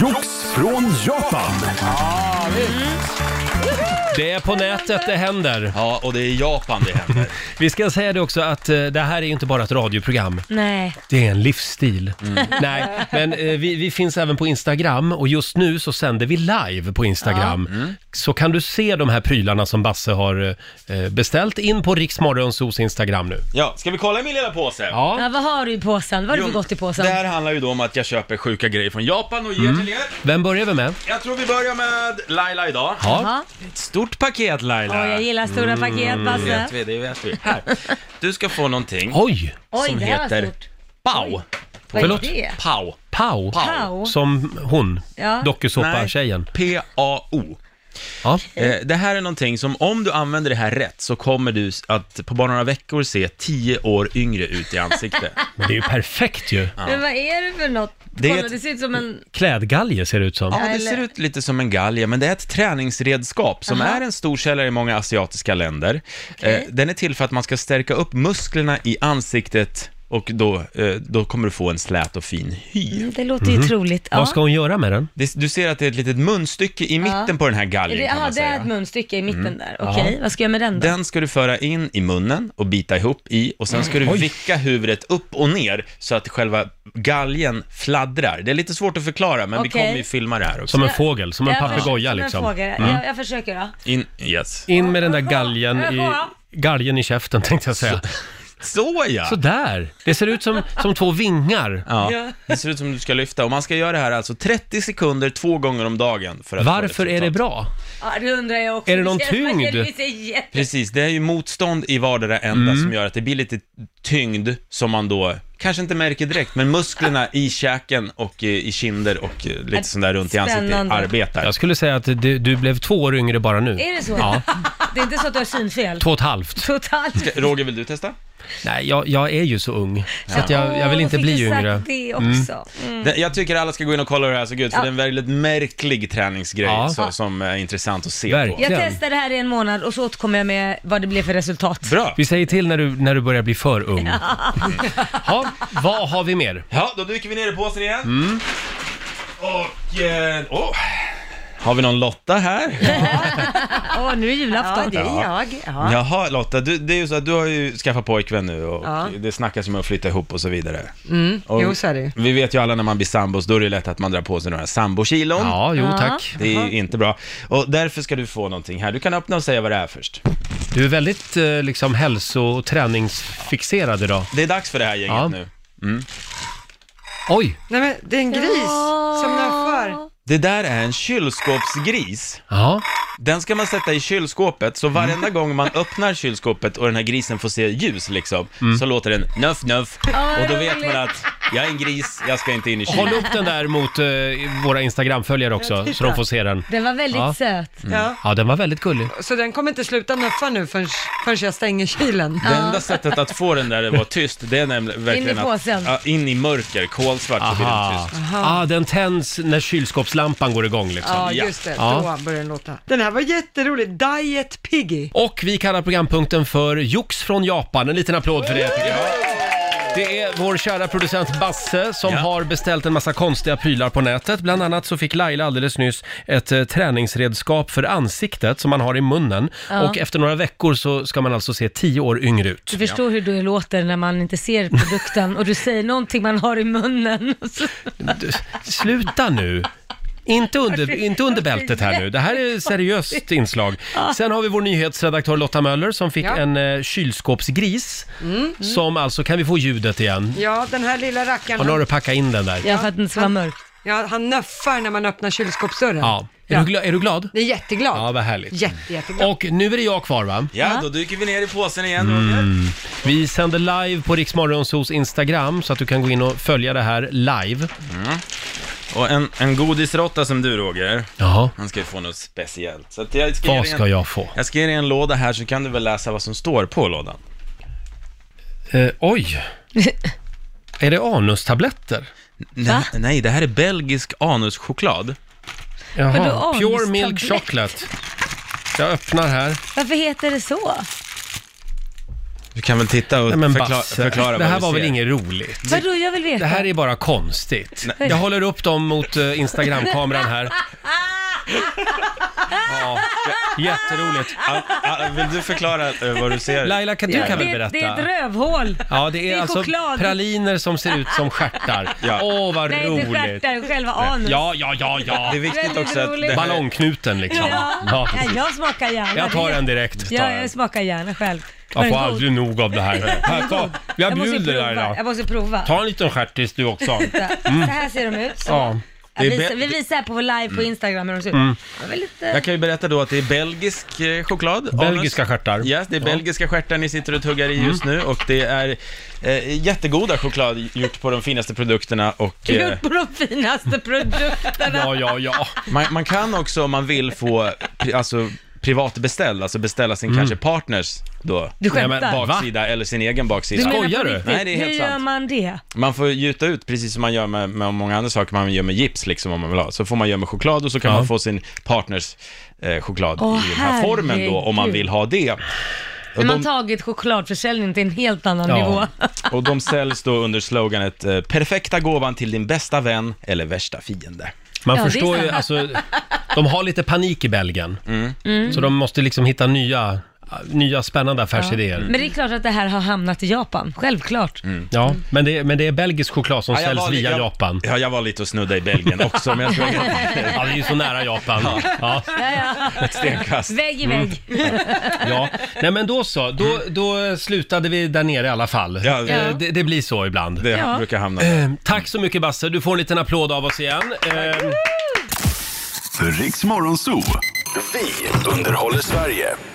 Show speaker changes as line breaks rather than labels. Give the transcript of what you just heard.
Jox från Japan.
Det är på nätet det händer.
Ja, och det är i Japan det händer.
Vi ska säga det också att eh, det här är inte bara ett radioprogram.
Nej.
Det är en livsstil.
Mm.
Nej, men eh, vi, vi finns även på Instagram och just nu så sänder vi live på Instagram.
Mm.
Så kan du se de här prylarna som Basse har eh, beställt in på Riksmorgonsos Instagram nu.
Ja, ska vi kolla min lilla påse?
Ja,
Ja, vad har du i påsen? Vad har du
Jo,
för gott i påsen?
Det här handlar ju då om att jag köper sjuka grejer från Japan och ger till er.
vem börjar vi med?
Jag tror vi börjar med Laila idag.
Ja,
Ja.
Ett stort paket
Åh,
Laila.
jag gillar stora
Mm,
paket,
Det
Basse.
vet vi, det vet vi. Här. Du ska få någonting.
oj,
Oj,
som
det här
heter-
var stort.
Pau.
Vad
Förlåt?
är det?
Pau.
Pau.
Pau.
Som hon,
Ja.
dokusåpa-tjejen.
P-A-O.
Ja.
Eh, det här är någonting som om du använder det här rätt så kommer du s- att på bara några veckor se tio år yngre ut i ansiktet.
Men det är ju perfekt ju.
Men vad är det för något?
Det är
Kolla,
ett-
det ser ut som en...
Klädgalge ser det ut som.
Ja, det
Eller-
ser ut lite som en galge, men det är ett träningsredskap som är en stor källa i många asiatiska länder. Eh, den är till för att man ska stärka upp musklerna i ansiktet och då, eh, då kommer du få en slät och fin hy.
Det låter ju troligt. Ja.
Mhm. Vad ska hon göra med den?
Det, du ser att det är ett litet munstycke i mitten på den här
Är
galgen
det,
kan
aha,
man
det är
säga.
ett munstycke i
Mm.
mitten där. Okej, vad ska jag med den då?
Den ska du föra in i munnen och bita ihop i och sen ska du vicka huvudet upp och ner så att själva galgen fladdrar. Det är lite svårt att förklara, men vi
Okej.
kommer ju filma det här också.
Som en fågel, som en
Jag försöker-
papegoja
som en
liksom.
fråga. Jag, jag försöker då.
In, yes.
In med den där galgen i, galgen i käften tänkte jag säga.
Såja!
Sådär! Det ser ut som, som två vingar.
Ja, det ser ut som du ska lyfta. Och man ska göra det här alltså 30 sekunder två gånger om dagen. För att få
Varför är det
resultat.
bra?
Ja, det undrar jag också.
Är det någon
känns- man
tyngd?
känner sig jätte-
Precis, det är ju motstånd i vardera ända
Mm.
som gör att det blir lite tyngd som man då kanske inte märker direkt, men musklerna i käken och eh, i kinder och eh, lite sån där runt i ansiktet
Spännande.
arbetar.
Jag skulle säga att du, du blev två år yngre bara nu.
Är det så?
Ja,
Det är inte så att du har synfel?
två och ett halvt.
Totalt.
Ska- Roger, vill du testa?
Nej, jag, jag är ju så ung. Så att jag, jag vill
Åh,
inte
fick
bli
du sagt
yngre.
det också. Mm.
Det- Jag tycker alla ska gå in och kolla hur det här såg ut, för
Ja.
det är en väldigt märklig träningsgrej
Ja.
så, som är intressant att se
Verkligen.
på.
Jag testar det här i en månad och så återkommer jag med vad det blev för resultat.
Bra!
Vi säger till när du, när du börjar bli för ung. Ja, vad har vi mer?
Ja, då dyker vi ner i påsen igen. Och... Eh, åh. Har vi någon Lotta här?
Åh, nu är
Ja,
julafton.
det är jag. Ja.
Jaha Lotta, du, det är ju så att du har ju skaffat pojkvän nu och
Ja. Mm.
det snackas ju om att flytta ihop och så vidare. Och
Jo, så är det
Vi vet ju alla när man blir sambos, då är det ju lätt att man drar på sig några sambokilon.
Ja, jo
Ja.
tack.
Det är ju inte bra. Och därför ska du få någonting här. Du kan öppna och säga vad det är först.
Du är väldigt eh, liksom hälso och träningsfixerad idag.
Det är dags för det här gänget
Ja.
nu.
Oj!
Nej men det är en gris som naffar.
Det där är en kylskåpsgris.
Ja,
Den ska man
Ah.
sätta i kylskåpet, så varenda
Mm.
gång man öppnar kylskåpet och den här grisen får se ljus liksom,
Mm.
så låter den nuff nuff.
vad
och då vet
roligt.
man att jag är en gris, jag ska inte in i kylen.
Ah, håll upp den där mot eh, våra Instagram-följare också
typ
så de får se den.
Den var väldigt
Ja.
söt.
Ja.
Ja, den var väldigt gullig.
Så den kommer inte sluta nuffa nu förrän, förrän jag stänger kylen.
Det
Ah.
enda sättet att få den där att vara tyst, det är nämligen verkligen att...
påsen.
Ja, in i mörker, kolsvart, så blir den
Aha.
tyst.
Ah, den tänds när kylskåpslampan går igång liksom.
Ja,
Ja.
just det.
Ja.
Då börjar den låta. Den här var jätterolig. Diet Piggy.
Och vi kallar programpunkten för Jox från Japan. En liten applåd för det. tycker jag. Det är vår kära producent Basse som
Ja.
har beställt en massa konstiga prylar på nätet. Bland annat så fick Laila alldeles nyss ett eh, träningsredskap för ansiktet som man har i munnen. Och efter några veckor så ska man alltså se tio år yngre ut.
Du förstår hur det låter när man inte ser produkten och du säger någonting man har i munnen. Och så-
Du, Sluta nu! Inte under, inte under bältet här nu. Det här är ett seriöst inslag. Sen har vi vår nyhetsredaktör Lotta Möller som fick
Ja.
en eh, kylskåpsgris. Som alltså, kan vi få ljudet igen?
Ja, den här lilla rackaren.
Och nu har du packat in den där. Ja.
Ja, för att den ska vara mörk.
Ja, han nuffar när man öppnar kylskåpsdörren.
Är, Du, gla- är du glad?
Det är jätteglad.
Ja, vad härligt.
Jätte, jätteglad.
Och nu är det jag kvar va?
Ja, då dyker vi ner i påsen igen, Roger.
Mm. Vi sänder live på Riksmorgonsos Instagram så att du kan gå in och följa det här live.
Och en, en godisråtta som du, Roger,
Jaha,
han ska ju få något speciellt. Så att jag ska ge
vad
dig en-
ska jag få?
Jag ska ge dig en låda här, så kan du väl läsa vad som står på lådan.
Eh, oj! Är det anustabletter?
Nej, nej, det här är belgisk anuschoklad.
Jaha,
Vadå
Pure
anustablett?
Milk Chocolate. Jag öppnar här.
Varför heter det så?
Du kan väl titta och
Nej, men
förklara,
Basse,
förklara
det här
vad du
var väl
ser.
inget roligt?
Vadå, jag vill veta.
Det här är bara konstigt. Jag håller upp dem mot eh, Instagramkameran här. Ja, jätteroligt.
Ah, ah, vill du förklara eh, vad du ser?
Laila, kan, du kan väl
det,
berätta?
det är ett rövhål.
Ja, det är,
det är
alltså
choklad.
praliner som ser ut som stjärtar. Åh,
Ja.
vad
Nej, inte
roligt!
stjärtar, själva anus.
Ja, ja, ja, ja.
Det är viktigt
Väldigt
också att
roligt.
det här,
Ballongknuten liksom.
Ja.
Ja.
Ja, jag smakar gärna.
Jag tar
Det-
en direkt.
Ja,
Tar
jag
jag.
smakar gärna själv. Var
jag får
den god?
aldrig nog av det här. här ta, jag
Jag måste ju
bjuder
prova.
dig
Jag
då.
måste prova.
Ta Mm. en liten stjärtis du också.
Så här ser de ut. Så.
Ja.
Jag
Det är
visar,
bä-
vi visar här på vår live på
Mm.
Instagram hur de ser ut. Det var lite...
jag kan ju berätta då att det är belgisk eh, choklad. anus.
Belgiska Mm. stjärtar.
Ja, det är belgiska stjärtar ni sitter och tuggar i just nu och det är eh, jättegoda choklad gjort på de finaste produkterna och eh,
Gjort på de finaste produkterna.
Ja, ja, ja.
man, man kan också om man vill få pri, alltså, privatbeställ, alltså beställa
Mm.
sin kanske partners då
Du
Nej, men
skämtar?
bak- Va?
baksida eller sin egen
du
baksida.
menar-
på
Skojar du?
riktigt?
Nej, det är helt
Hur
sant.
gör man det?
Man får gjuta ut precis som man gör med, med många andra saker man gör med gips liksom om man vill ha. Så får man göra med choklad och så kan
Ja.
man få sin partners eh, choklad
Åh,
i den här formen då om man
herregud.
vill ha det. Och
Men man
de,
tagit chokladförsäljning till en helt annan
Ja.
nivå.
och de säljs då under sloganet eh, “Perfekta gåvan till din bästa vän eller värsta fiende”.
Man
Ja, det är
förstår ju,
sant.
alltså, de har lite panik i Belgien.
Mm.
Så de måste liksom hitta nya, nya spännande affärsidéer. Ja.
Men det är klart att det här har hamnat i Japan, självklart.
Mm. men, det, men det är belgisk choklad som
Ja, jag
säljs
var li-
via
jag,
Japan.
Ja, jag var lite och snudda i Belgien också, men jag tror att
Ja, det är ju så nära Japan. Ja.
ett stenkast.
Vägg i vägg.
Ja. Nej, men då så. Då, då slutade vi där nere i alla fall.
Ja, det-
Eh, det, det blir så ibland.
Det
Ja.
brukar hamna.
Eh, Tack så mycket Basse, du får en liten applåd av oss igen. Eh,
Riks Morgonzoo. Vi underhåller Sverige.